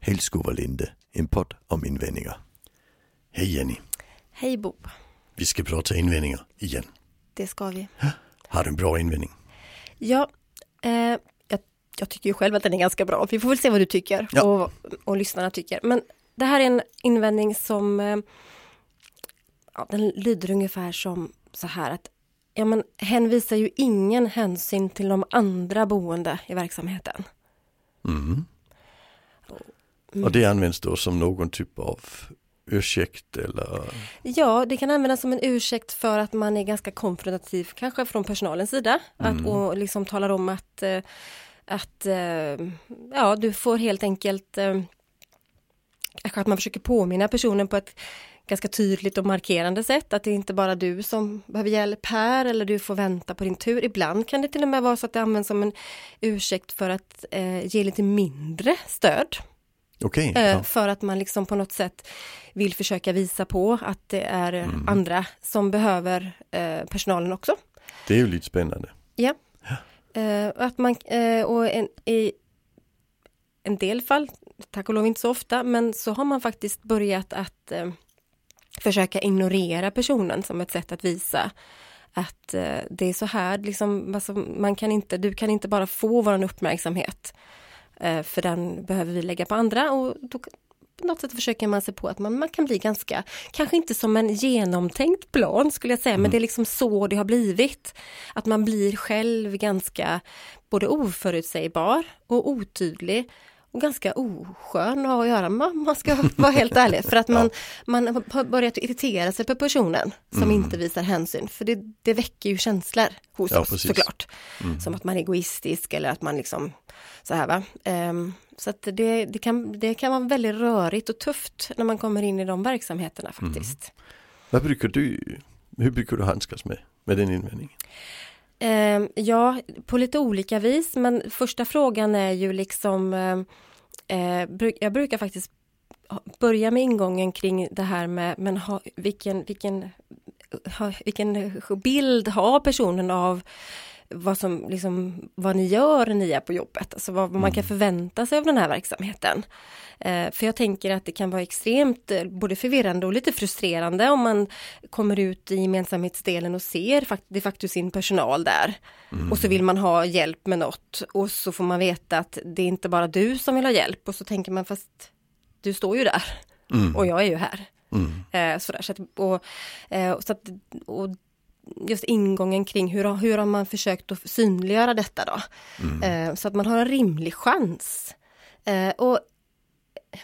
Hällskovalinde, en podd om invändningar. Hej Jenny, Hej Bob, vi ska prata invändningar igen. det ska vi. Har du en bra invändning? Ja, eh, jag, jag tycker ju själv att den är ganska bra. Vi får väl se vad du tycker Ja. och, och lyssnarna tycker. Men det här är en invändning som eh, ja, den lyder ungefär som så här att ja, men hen visar ju ingen hänsyn till de andra boende i verksamheten. Och det används då som någon typ av ursäkt eller Ja, det kan användas som en ursäkt för att man är ganska konfrontativ, kanske från personalens sida, att, och liksom talar om att, eh, att eh, ja, du får helt enkelt, eh, kanske att man försöker påminna personen på ett ganska tydligt och markerande sätt, att det är inte bara du som behöver hjälp här, eller du får vänta på din tur. Ibland kan det till och med vara så att det används som en ursäkt för att eh, ge lite mindre stöd. okej. Eh, ja. För att man liksom på något sätt vill försöka visa på att det är eh, andra som behöver eh, personalen också. Det är ju lite spännande. Ja. Eh, och att man, eh, och en, i en del fall, tack och lov inte så ofta, men så har man faktiskt börjat att eh, försöka ignorera personen som ett sätt att visa att eh, det är så här, liksom, alltså, man kan inte, du kan inte bara få vår uppmärksamhet, eh, för den behöver vi lägga på andra. Och då, på något sätt försöker man sig på att man, man kan bli ganska, kanske inte som en genomtänkt plan skulle jag säga, Mm. men det är liksom så det har blivit. Att man blir själv ganska både oförutsägbar och otydlig och ganska oskön att ha att göra med, om man ska vara helt ärlig. För att man, man har börjat irritera sig på personen som Mm. inte visar hänsyn, för det, det väcker ju känslor hos Ja, oss precis. såklart. Som att man är egoistisk eller att man liksom så här va. Ehm, så att det, det, kan, det kan vara väldigt rörigt och tufft när man kommer in i de verksamheterna faktiskt. Vad brukar du, hur brukar du handskas med, med den invändningen? Ehm, ja, på lite olika vis, men första frågan är ju liksom, ehm, eh, bru- jag brukar faktiskt ha- börja med ingången kring det här med, men ha, vilken, vilken, ha, vilken bild har personen av vad som, liksom, vad ni gör när ni är på jobbet, alltså vad, vad man kan förvänta sig av den här verksamheten. Eh, för jag tänker att det kan vara extremt eh, både förvirrande och lite frustrerande om man kommer ut i gemensamhetsdelen och ser fakt- de facto sin personal där. Och så vill man ha hjälp med något och så får man veta att det är inte bara du som vill ha hjälp och så tänker man fast du står ju där och jag är ju här. Mm. Eh, sådär, så att, och, eh, och så att, och just ingången kring hur, har- hur har man försökt att synliggöra detta då? Eh, så att man har en rimlig chans. Eh, och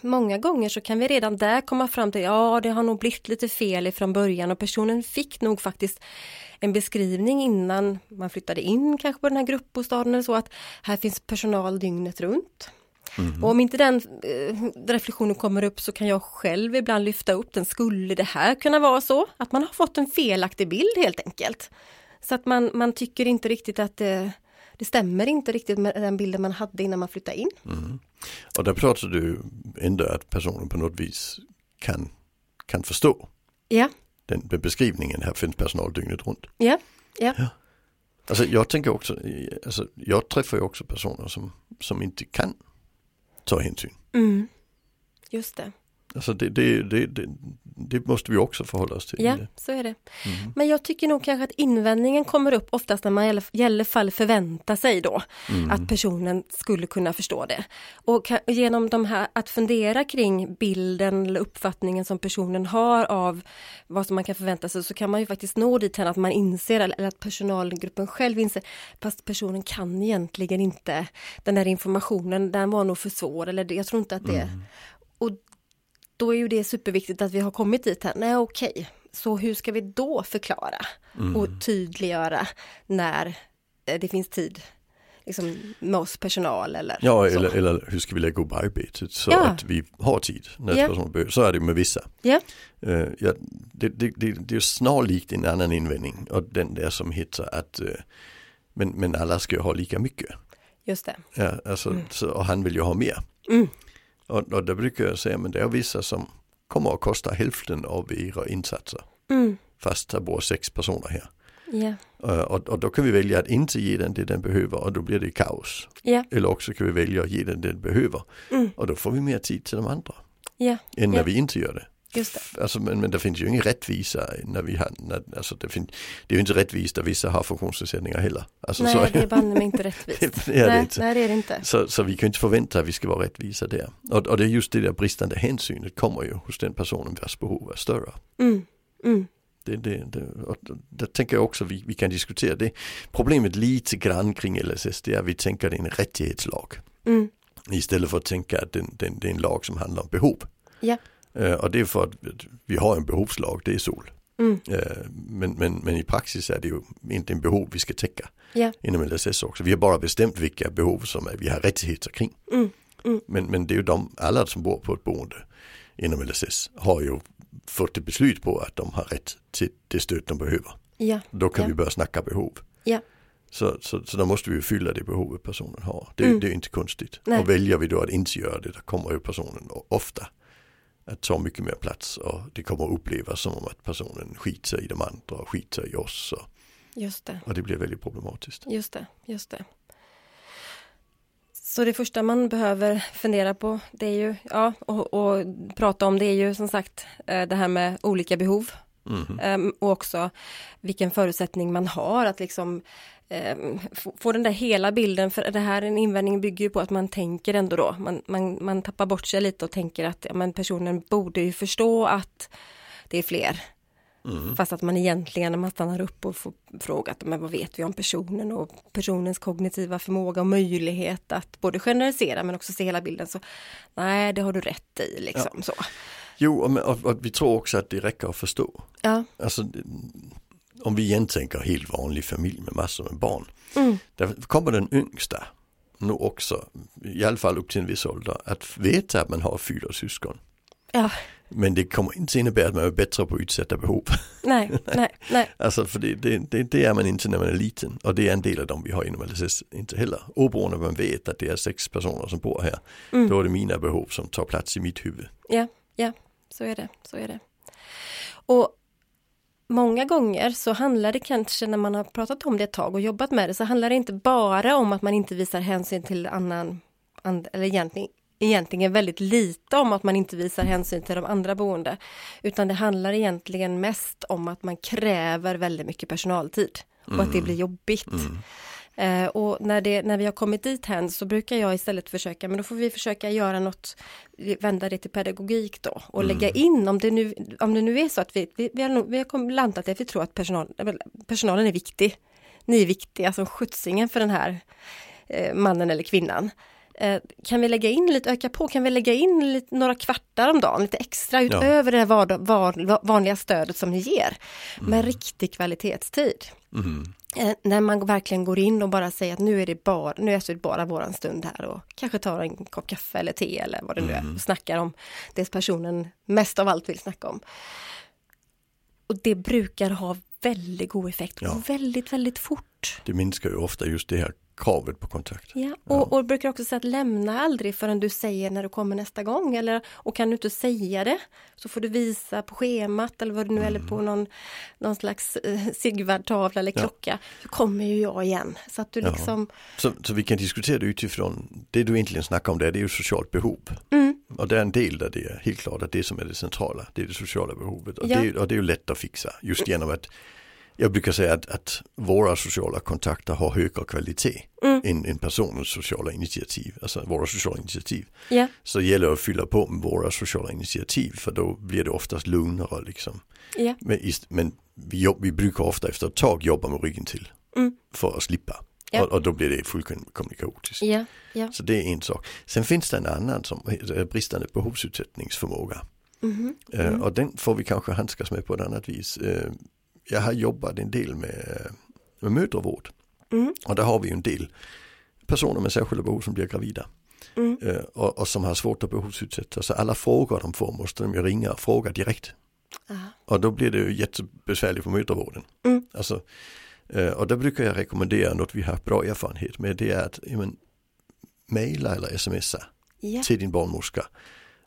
många gånger så kan vi redan där komma fram till, ja det har nog blivit lite fel ifrån början och personen fick nog faktiskt en beskrivning innan man flyttade in kanske på den här gruppbostaden eller så att här finns personal dygnet runt. Och om inte den eh, reflektionen kommer upp så kan jag själv ibland lyfta upp den. Skulle det här kunna vara så? Att man har fått en felaktig bild helt enkelt. Så att man, man tycker inte riktigt att det, det stämmer inte riktigt med den bilden man hade innan man flyttade in. Och där pratar du ändå att personen på något vis kan, kan förstå Ja, den beskrivningen. Här finns personal dygnet runt. ja, ja. Alltså jag tänker också, alltså, jag träffar ju också personer som, som inte kan ta hänsyn. Mm. Just det. Alltså det, det, det, det, det måste vi också förhålla oss till. Ja, så är det. Men jag tycker nog kanske att invändningen kommer upp oftast när man i alla- i alla fall förväntar sig då att personen skulle kunna förstå det. Och ka- genom de här, att fundera kring bilden eller uppfattningen som personen har av vad som man kan förvänta sig så kan man ju faktiskt nå dit att man inser eller eller att personalgruppen själv inser fast personen kan egentligen inte den här informationen, den var nog för svår eller det- jag tror inte att det och då är ju det superviktigt att vi har kommit dit här. Nej, okej, så hur ska vi då förklara och Mm. tydliggöra när eh, det finns tid liksom, med oss personal eller Ja, så. eller, eller hur ska vi lägga upp arbetet så Ja. att vi har tid när Ja. personen behöver. Så är det med vissa. Ja, Eh, ja, det, det, det, det är snarlikt en annan invändning och den där som heter att eh, men, men alla ska ju ha lika mycket. just det. Ja, alltså, Mm. så, och han vill ju ha mer. Och, och där brukar jag säga, men det är vissa som kommer att kosta hälften av era insatser. Mm. Fast det bor sex personer här. Ja, Eh, Och, och då kan vi välja att inte ge den det den behöver och då blir det kaos. Ja, mm, Eller också kan vi välja att ge den det den behöver och då får vi mer tid till de andra ja, än när Ja. vi inte gör det. just det. Alltså, men, men det finns ju ingen rättvisa när vi har, när, alltså det, finns, det är ju inte rättvist att vissa har funktionsnedsättningar heller. Alltså, nej, så, det är banne mig inte rättvist. Det är det nej, inte. nej, det är det inte. så, så vi kan ju inte förvänta att vi ska vara rättvisa där. Och, och det är just det där bristande hänsynet kommer ju hos den personen vars behov är större. Mm, mm, Det, det, det, och där tänker jag också vi, vi kan diskutera det. Problemet lite grann kring LSS det är att vi tänker att det är en rättighetslag. mm, Istället för att tänka att den, den, det är en lag som handlar om behov. ja, Eh, och det är för att vi har en behovslag, det är SOL. mm, Eh, Men, men, men i praxis är det ju inte en behov vi ska täcka ja, inom LSS också. Vi har bara bestämt vilka behov som är, vi har rättigheter kring. mm, Men, men det är ju de, alla som bor på ett boende inom LSS har ju fått ett beslut på att de har rätt till det stöd de behöver. ja, Då kan Ja. vi börja snacka behov. ja, Så, så, så då måste vi ju fylla det behovet personen har. Det, Mm. det är ju inte konstigt. Nej. Och väljer vi då att inte göra det, då kommer ju personen o- ofta att ta mycket mer plats och det kommer att upplevas som om att personen skiter i de andra och skiter i oss. Och, just det. och det blir väldigt problematiskt. Just det, just det. Så det första man behöver fundera på det är ju, ja, och, och prata om det är ju som sagt eh, det här med olika behov Mhm. Ehm, och också vilken förutsättning man har att liksom ehm, få- få den där hela bilden, för det här en invändning bygger ju på att man tänker ändå då, man, man, man tappar bort sig lite och tänker att ja, men personen borde ju förstå att det är fler. Fast att man egentligen när man stannar upp och får frågat men vad vet vi om personen och personens kognitiva förmåga och möjlighet att både generalisera men också se hela bilden så nej det har du rätt i liksom så. Jo, och, men- och, och vi tror också att det räcker att förstå. Ja, Alltså, det- om vi igen tänker helt vanlig familj med massor med barn. Mm. Där kommer den yngsta nu också, i alla fall upp till en viss ålder, att veta att man har fyra syskon. ja, Men det kommer inte innebära att man är bättre på att utsätta behov. nej, nej, nej, Alltså för det, det, det, det är man inte när man är liten och det är en del av dem vi har inom LSS inte heller. Oberoende av att man vet att det är sex personer som bor här, Mm. då är det mina behov som tar plats i mitt huvud. ja, ja, så är det, så är det. Och många gånger så handlar det kanske när man har pratat om det ett tag och jobbat med det så handlar det inte bara om att man inte visar hänsyn till annan, and, eller egentligen, egentligen väldigt lite om att man inte visar hänsyn till de andra boende. Utan det handlar egentligen mest om att man kräver väldigt mycket personaltid och att det blir jobbigt. Eh, och när, det, när vi har kommit dit hen så brukar jag istället försöka, men då får vi försöka göra något, vända det till pedagogik då och lägga in, om det nu, om det nu är så att vi, vi, vi har, nog- vi har kom- landat i att vi tror att personal, eller, personalen är viktig. Ni är viktiga som skjutsingen för den här eh, mannen eller kvinnan. Eh, Kan vi lägga in lite, öka på, kan vi lägga in lite, några kvartar om dagen, lite extra utöver det vardag, var, vanliga stödet som ni ger, med riktig kvalitetstid. Eh, När man verkligen går in och bara säger att nu är det bara, nu är det alltså bara våran stund här och kanske tar en kopp kaffe eller te eller vad det nu är och snackar om det personen mest av allt vill snacka om. Och det brukar ha väldigt god effekt Ja. och väldigt, väldigt fort. Det minskar ju ofta just det här kravet på kontakt. Ja, och, och brukar också säga att lämna aldrig förrän du säger när du kommer nästa gång. Eller, och kan du inte säga det så får du visa på schemat eller vad det nu är, eller på någon, någon slags eh, Sigvard-tavla eller klocka. Så kommer ju jag igen. Så att du Ja. liksom, Så, så vi kan diskutera det utifrån det du egentligen snackar om där, det är ju socialt behov. Och det är en del där det är helt klart att det som är det centrala, det är det sociala behovet. Och, Ja. det, och det är ju lätt att fixa just genom att jag brukar säga att, att våra sociala kontakter har högre kvalitet än, än personens sociala initiativ, alltså våra sociala initiativ. ja, Så det gäller att fylla på med våra sociala initiativ för då blir det oftast lugnare liksom. ja, Men, ist- men vi, jobb, vi brukar ofta efter ett tag jobba med ryggen till för att slippa. Ja. Och, och då blir det fullkomligt kaotiskt. ja, ja. Så det är en sak. Sen finns det en annan som heter bristande behovsutsättningsförmåga. Mhm. Eh, Mm. Och den får vi kanske handskas med på ett annat vis. Eh, Jag har jobbat en del med, eh, med mödravård. Mm. Och där har vi ju en del personer med särskilda behov som blir gravida. Mm. Eh, Och, och som har svårt att behovsutsätta. Så alla frågor de får måste de ju ringa och fråga direkt. Aha. Och då blir det ju jättebesvärligt för mödravården. Mm. Alltså, eh, och där brukar jag rekommendera något vi har bra erfarenhet med. Det är att ja, men, mejla eller smsa ja. till din barnmorska.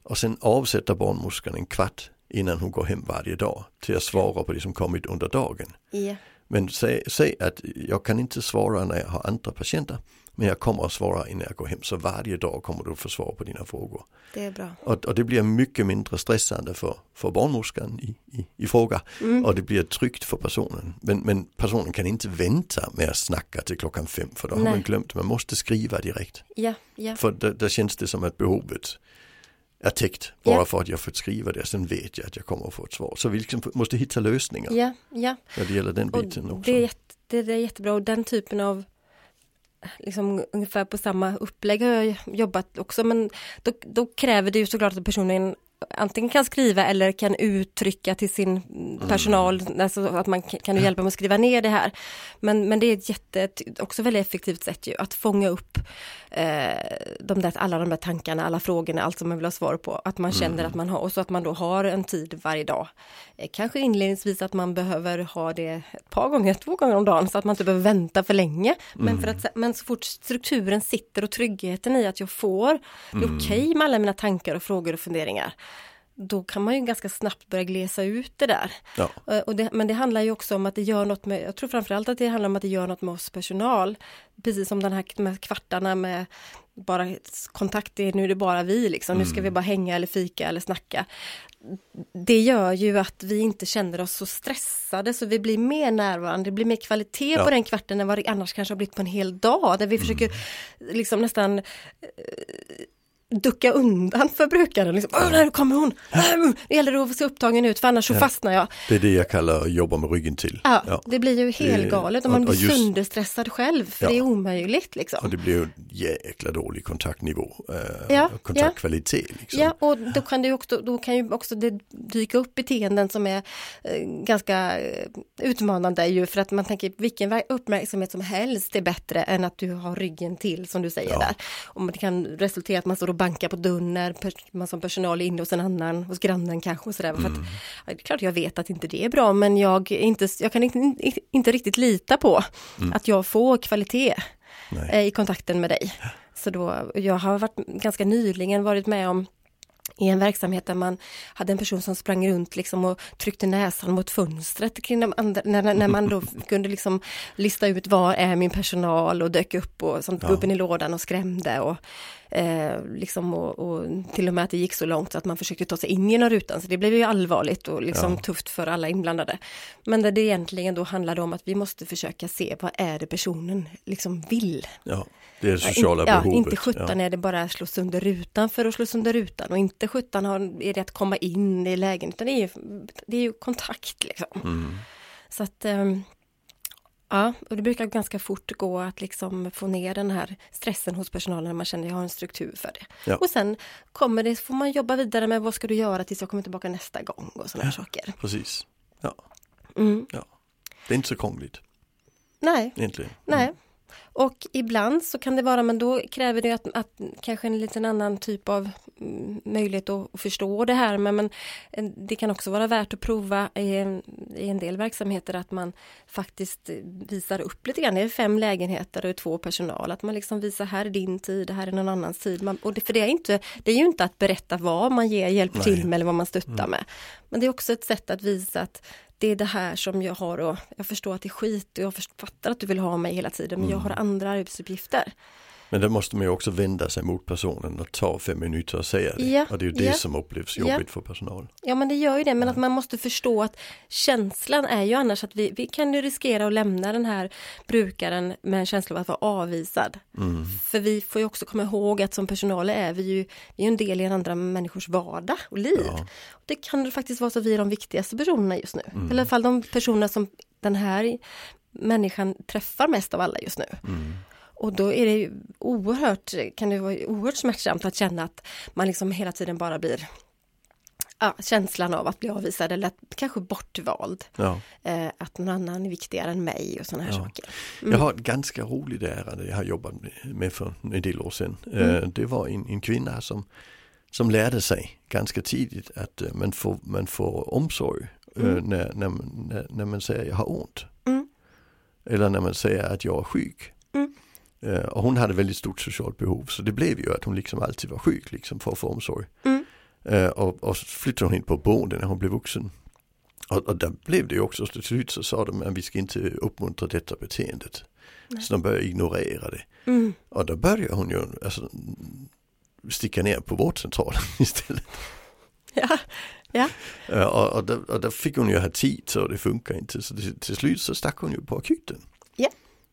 Och sen avsätter barnmorskan en kvart innan hon går hem varje dag till att svara på det som kommit under dagen. ja. Men säg, säg att jag kan inte svara när jag har andra patienter. Men jag kommer att svara innan jag går hem. Så varje dag kommer du att få svar på dina frågor. Det är bra. Och, och det blir mycket mindre stressande för, för barnmorskan i, i, i fråga. Mm. Och det blir tryggt för personen. Men, men personen kan inte vänta med att snacka till klockan fem. För då har Nej. man glömt. Man måste skriva direkt. Ja, ja. För där, där känns det som att behovet är täckt. Bara Ja. för att jag fått skriva det. Sen vet jag att jag kommer att få ett svar. Så vi liksom måste hitta lösningar Ja, ja. när det gäller den Och biten också. det, är jätte, det är jättebra och den typen av liksom ungefär på samma upplägg har jag jobbat också men då, då kräver det ju såklart att personen antingen kan skriva eller kan uttrycka till sin Mm. personal, alltså att man kan kan du hjälpa mig att skriva ner det här. Men, men det är ett jätte, ett också väldigt effektivt sätt ju, att fånga upp eh, de där, alla de där tankarna, alla frågorna, allt som man vill ha svar på. Att man känner Mm. att man har, och så att man då har en tid varje dag. Eh, kanske inledningsvis att man behöver ha det ett par gånger, två gånger om dagen, så att man inte behöver vänta för länge. Men, för att, se- men så fort strukturen sitter och tryggheten i att jag får, det är okej med alla mina tankar och frågor och funderingar. Då kan man ju ganska snabbt börja glesa ut det där. Ja. Eh, Och det, men det handlar ju också om att det gör något med, jag tror framförallt att det handlar om att det gör något med oss personal. Precis som den här de här kvartarna med bara kontakt, det är, nu är det bara vi liksom, nu ska vi bara hänga eller fika eller snacka. Det gör ju att vi inte känner oss så stressade så vi blir mer närvarande, det blir mer kvalitet på den kvarten än vad det annars kanske har blivit på en hel dag. Där vi försöker liksom nästan ducka undan för brukaren. Liksom, Åh, nej, nu kommer hon! Äh, Det gäller att se upptagen ut för annars så fastnar jag. Det är det jag kallar att jobba med ryggen till. Ja, Ja. det blir ju helgalet och och- man blir och just- sönderstressad själv för Ja. det är omöjligt Och liksom. det blir ju en jäkla dålig kontaktnivå, eh, Ja, kontaktkvalitet. Liksom. Ja, och då kan, det ju också, då kan ju också det dyka upp beteenden som är eh, ganska eh, utmanande ju för att man tänker vilken ver- uppmärksamhet som helst är bättre än att du har ryggen till som du säger Ja. där. Och det kan resultera i att man står och bankar på dörren när pers- man som personal är inne hos en annan, hos grannen kanske och sådär. För att, Mm. ja, det är klart jag vet att inte det är bra men jag, är inte, jag kan inte, inte riktigt lita på att jag får kvalitet. Mm. Nej. eh, i kontakten med dig. Så då, jag har varit ganska nyligen varit med om i en verksamhet där man hade en person som sprang runt liksom och tryckte näsan mot fönstret kring de andra, när, när- när man då kunde liksom lista ut var är min personal och dök upp och som gubben i lådan och skrämde och, eh, liksom och, och till och med att det gick så långt så att man försökte ta sig in genom rutan så det blev ju allvarligt och liksom tufft för alla inblandade. Men där det egentligen då handlade om att vi måste försöka se vad är det personen liksom vill Ja, det är det sociala ja, behovet. Inte sjutton är det bara att slå sönder rutan för att slå sönder rutan och inte sjutton har- är det att komma in i lägen utan det är ju, det är ju kontakt liksom. Mm. Så att ehm, Ja, och det brukar ganska fort gå att liksom få ner den här stressen hos personalen när man känner att jag har en struktur för det. Ja. Och sen kommer det, får man jobba vidare med vad ska du göra tills jag kommer tillbaka nästa gång och sådana här saker. Ja, precis. Ja. Mm. Ja. Det är inte så krångligt Nej, egentligen. Nej. Och ibland så kan det vara, men då kräver det att, att kanske en liten annan typ av mm, möjlighet att, att förstå det här. Men, men eh, det kan också vara värt att prova i en, i en del verksamheter att man faktiskt eh, visar upp lite grann. Det är fem lägenheter och två personal. Att man liksom visar här är din tid, här är någon annans tid. Man, och det, för det är, inte, det är ju inte att berätta vad man ger hjälp till med eller vad man stöttar med. Men det är också ett sätt att visa att det är det här som jag har och jag förstår att det är skit och jag först- fattar att du vill ha mig hela tiden men jag har andra arbetsuppgifter. Men där måste man ju också vända sig mot personen och ta fem minuter och säga det. Ja, Och det är ju det ja. som upplevs Ja. jobbigt för personal. Ja men det gör ju det, men att man måste förstå att känslan är ju annars att vi, vi kan ju riskera att lämna den här brukaren med en känsla av att vara avvisad. För vi får ju också komma ihåg att som personal är vi ju, vi är ju en del i en andra människors vardag och liv. Det kan faktiskt vara så att vi är de viktigaste personerna just nu. Eller i alla fall de personer som den här människan träffar mest av alla just nu. Och då är det ju oerhört, kan det vara oerhört smärtsamt att känna att man liksom hela tiden bara blir ja, känslan av att bli avvisad eller att, kanske bortvald. Ja. Eh, att någon annan är viktigare än mig och sådana här saker. Jag har ett ganska roligt ärende jag har jobbat med för en del år sedan. Mm. Eh, Det var en, en kvinna som, som lärde sig ganska tidigt att eh, man får, man får omsorg eh, när, när, man- när, när man säger jag har ont. Mm. Eller när man säger att jag är sjuk. Mm. Eh, Och hon hade väldigt stort socialt behov så det blev ju att hon liksom alltid var sjuk liksom, för att få omsorg. Mm. Eh, Och, och så flyttade hon in på boende när hon blev vuxen. Och, och där blev det ju också, till slut så sa de att vi ska inte uppmuntra detta beteendet. Så de började ignorera det. Mm. Och då började hon ju alltså, sticka ner på vårdcentralen istället. Ja. Eh, Och, och, där, och där fick hon ju ha tid så det funkar inte. Så till, till slut så stack hon ju på akuten. Ja.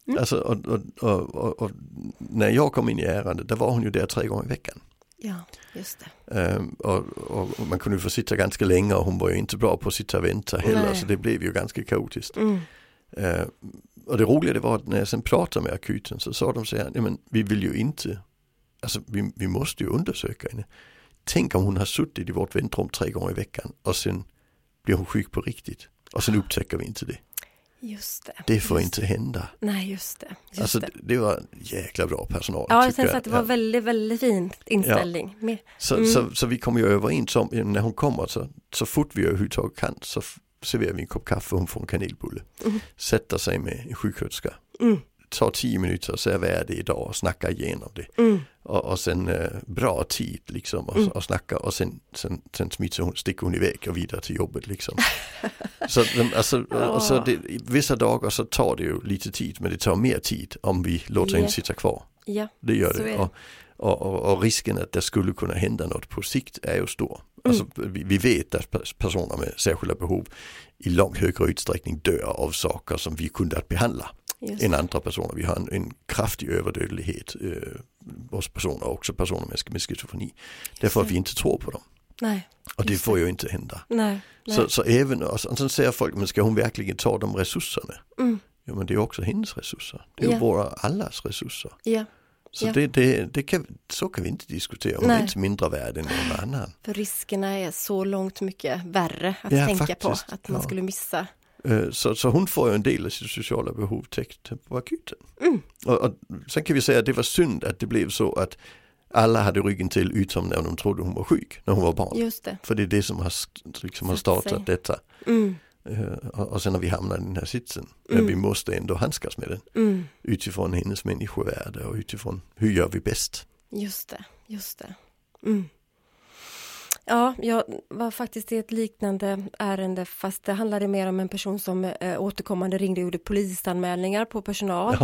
Mm. Alltså, och, och, och, och, och när jag kom in i ärendet, där var hon ju där tre gånger i veckan. ja, just det. Eh, och, och och man kunde ju få sitta ganska länge och hon var ju inte bra på att sitta och vänta heller Nej. så det blev ju ganska kaotiskt. Mm. Eh, och det roliga det var att när jag sen pratade med akuten så sa de så här, "Nej, men vi vill ju inte, alltså vi, vi måste ju undersöka henne. Tänk om hon har suttit i vårt väntrum tre gånger i veckan och sen blir hon sjuk på riktigt och sen upptäcker vi inte det. Just det. Det får just. inte hända. Nej, just det. Just Alltså det. det, det var jäkla bra personal. Ja, tycker jag tänkte att det var Ja. väldigt, väldigt fin inställning. Med, Så, Mm. så, så vi kommer ju överens om, eh, när hon kommer så, så fort vi överhuvudtaget kan så f- serverar vi en kopp kaffe och hon får en kanelbulle. Mm. Sätter sig med en sjuksköterska, mm, tar tio minuter och säger vad är det idag och snackar igenom det. mm. Och, och sen eh, bra tid liksom och, Mm. och snacka och sen, sen, sen smiter hon, sticker hon iväg och vidare till jobbet liksom. så de- alltså, och, och så Ja. det, vissa dagar så tar det ju lite tid men det tar mer tid om vi låter Ja. henne sitta kvar. Ja, Det gör Så är det. det. Och, och, och, och risken att det skulle kunna hända något på sikt är ju stor. Alltså, Mm. vi, vi vet att pers- personer med särskilda behov i långt högre utsträckning dör av saker som vi kunde att behandla just än det. andra personer. Vi har en, en kraftig överdödlighet eh, hos personer, också personer med, sk- med schizofreni. Därför att vi inte tror på dem. Nej, Och det Just får ju inte hända. nej, nej. Så, så även, och sen sen säger folk, men ska hon verkligen ta de resurserna? Mm, Ja men det är ju också hennes resurser. Det är ju Ja. våra allas resurser. ja, Så Ja. det, det, det kan, så kan vi inte diskutera, hon är Nej. inte mindre värd än någon annan. för riskerna är så långt mycket värre att Ja, tänka faktiskt. på. Att man Ja. skulle missa. Eh, Så, så hon får ju en del av sitt sociala behov täckt på akuten. Mm. Och, och sen kan vi säga att det var synd att det blev så att alla hade ryggen till utom när de trodde hon var sjuk när hon var barn. Just det. För det är det som har, st- liksom har Satt sig. startat detta. Mm, Eh, Och, och sen när vi hamnar i den här sitsen, Mm. men vi måste ändå handskas med den mm, utifrån hennes människovärde och utifrån hur gör vi bäst. just det, just det. Mm. Ja, jag var faktiskt i ett liknande ärende fast det handlade mer om en person som eh, återkommande ringde och gjorde polisanmälningar på personal.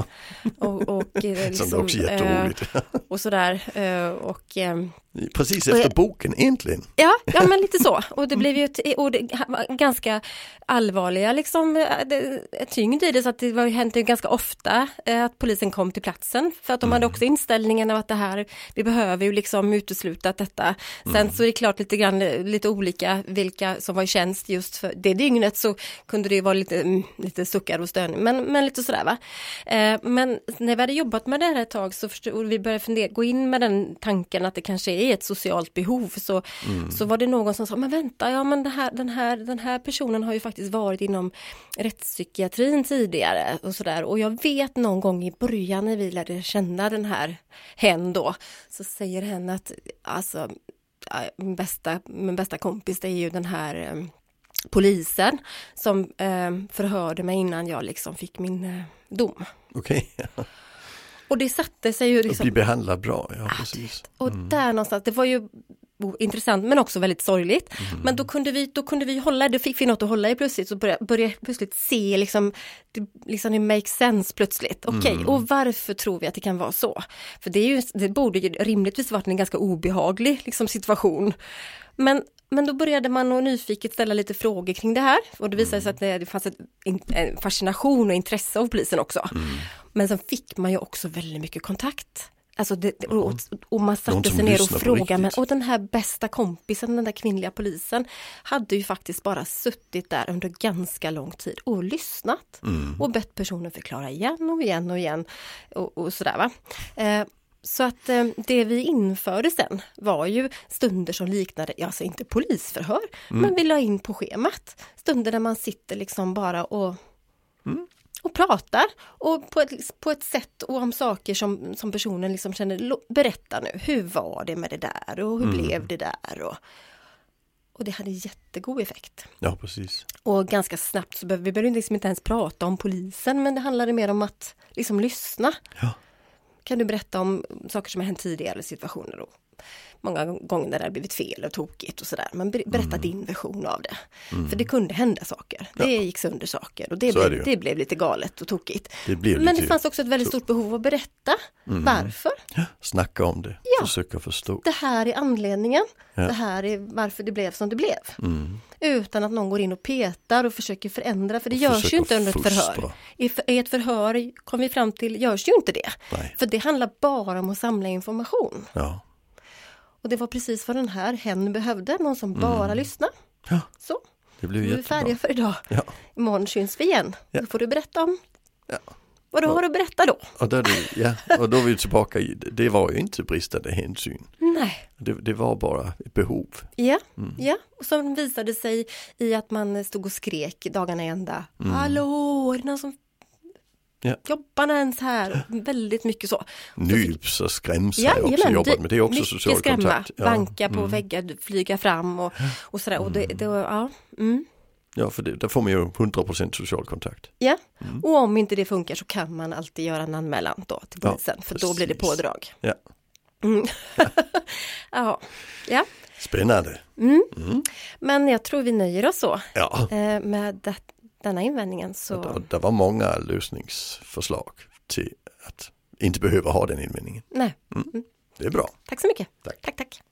Och, och, eh, liksom, som är också eh, jätteroligt. och sådär. eh, Och, ehm, Precis och efter jag- boken egentligen. ja, ja, men lite så. Och det blev ju ett, och det, var ganska allvarliga liksom, eh, det- tyngd i det, så att det var, ju- hände ju ganska ofta eh, att polisen kom till platsen. För att de hade också inställningen av att det här, vi behöver ju liksom utesluta att detta. Sen så är det klart lite grann, eh, lite olika vilka som var i tjänst just för det dygnet, så kunde det ju vara lite, mm, lite suckar och stön, men, men lite sådär va. Eh, men när vi hade jobbat med det här ett tag så förstod, och vi började fundera, gå in med den tanken att det kanske är ett socialt behov. Så, så var det någon som sa, men vänta, ja, men det här, den, här, den här personen har ju faktiskt varit inom rättspsykiatrin tidigare och sådär. Och jag vet någon gång i början när vi lärde känna den här hen då, så säger hen att alltså, ja, min bästa, min bästa kompis det är ju den här eh, polisen som eh, förhörde mig innan jag liksom fick min eh, dom. Okej. Och det satte sig ju Och liksom bli behandlad bra, ja precis. och där någonstans, det var ju o- intressant men också väldigt sorgligt. Men då kunde vi, då kunde vi hålla, då fick vi något att hålla i plötsligt och började, började plötsligt se liksom, det, liksom det makes sense plötsligt. Okej, och varför tror vi att det kan vara så? För det, är ju, det borde ju rimligtvis varit en ganska obehaglig liksom, situation. Men men då började man och nyfiket ställa lite frågor kring det här och det visade sig att det, det fanns ett, in- en fascination och intresse av polisen också. Men sen fick man ju också väldigt mycket kontakt. Alltså det, och, och man Någon satte som sig ner lyssnar och på frågade, men, riktigt. och den här bästa kompisen, den där kvinnliga polisen, hade ju faktiskt bara suttit där under ganska lång tid och lyssnat Mm. och bett personen förklara igen och igen och igen och, och sådär va. Eh, så att eh, det vi införde sen var ju stunder som liknade, ja, alltså inte polisförhör, Mm. men vi la in på schemat stunder där man sitter liksom bara och och pratar och på ett, på ett sätt och om saker som, som personen liksom känner, "Lo- berätta nu, hur var det med det där och hur Mm. blev det där? Och, och det hade jättegod effekt. Ja precis. Och ganska snabbt så behövde vi behövde liksom inte ens prata om polisen, men det handlade mer om att liksom lyssna. Ja. Kan du berätta om saker som har hänt tidigare, situationer och många gånger när det har blivit fel och tokigt och sådär. Men ber- berätta Mm. din version av det. För det kunde hända saker. Det gick sönder saker och det Så är blev, det ju. det, blev lite galet och tokigt. Det blev Men lite- Mm. det fanns också ett väldigt stort behov att berätta varför. Snacka om det, försöka förstå. Det här är anledningen. Det här är varför det blev som det blev. Mm, Utan att någon går in och petar och försöker förändra. För det görs försöker ju inte under ett fostra. förhör. I för- i ett förhör, kom vi fram till, görs ju inte det. Nej. För det handlar bara om att samla information. Ja. Och det var precis vad den här hen behövde, någon som bara lyssnade. Ja. Så, Mm. Det blev nu är vi jättebra. färdiga för idag. Ja. Imorgon syns vi igen. Då får du berätta om Ja. vad du har att berätta då. Och, där, det- ja, och då är vi tillbaka i, det var ju inte bristande hänsyn. Nej. Det, det var bara ett behov. Ja, Mm. ja, och som visade sig i att man stod och skrek dagarna i ända. Hallå, är det någon som Mm. Ja. jobbar ens här? Och Väldigt mycket så. Nyps och skrämsla har jag också Jajamän, jobbat med. Det är också mycket social skrämma, kontakt. Ja, Mm. banka på väggar, flyga fram och, och sådär. Och det, det, ja, mm, ja för det, där får man ju 100% social kontakt. ja. Mm. Och om inte det funkar så kan man alltid göra en anmälan då till Ja, polisen, för då blir det precis. pådrag. Ja. Ja. ja, Spännande. men jag tror vi nöjer oss så Ja. eh, med det, denna invändningen. Så, Och det var många lösningsförslag till att inte behöva ha den invändningen. nej, Det är bra. tack så mycket. Tack. tack. tack.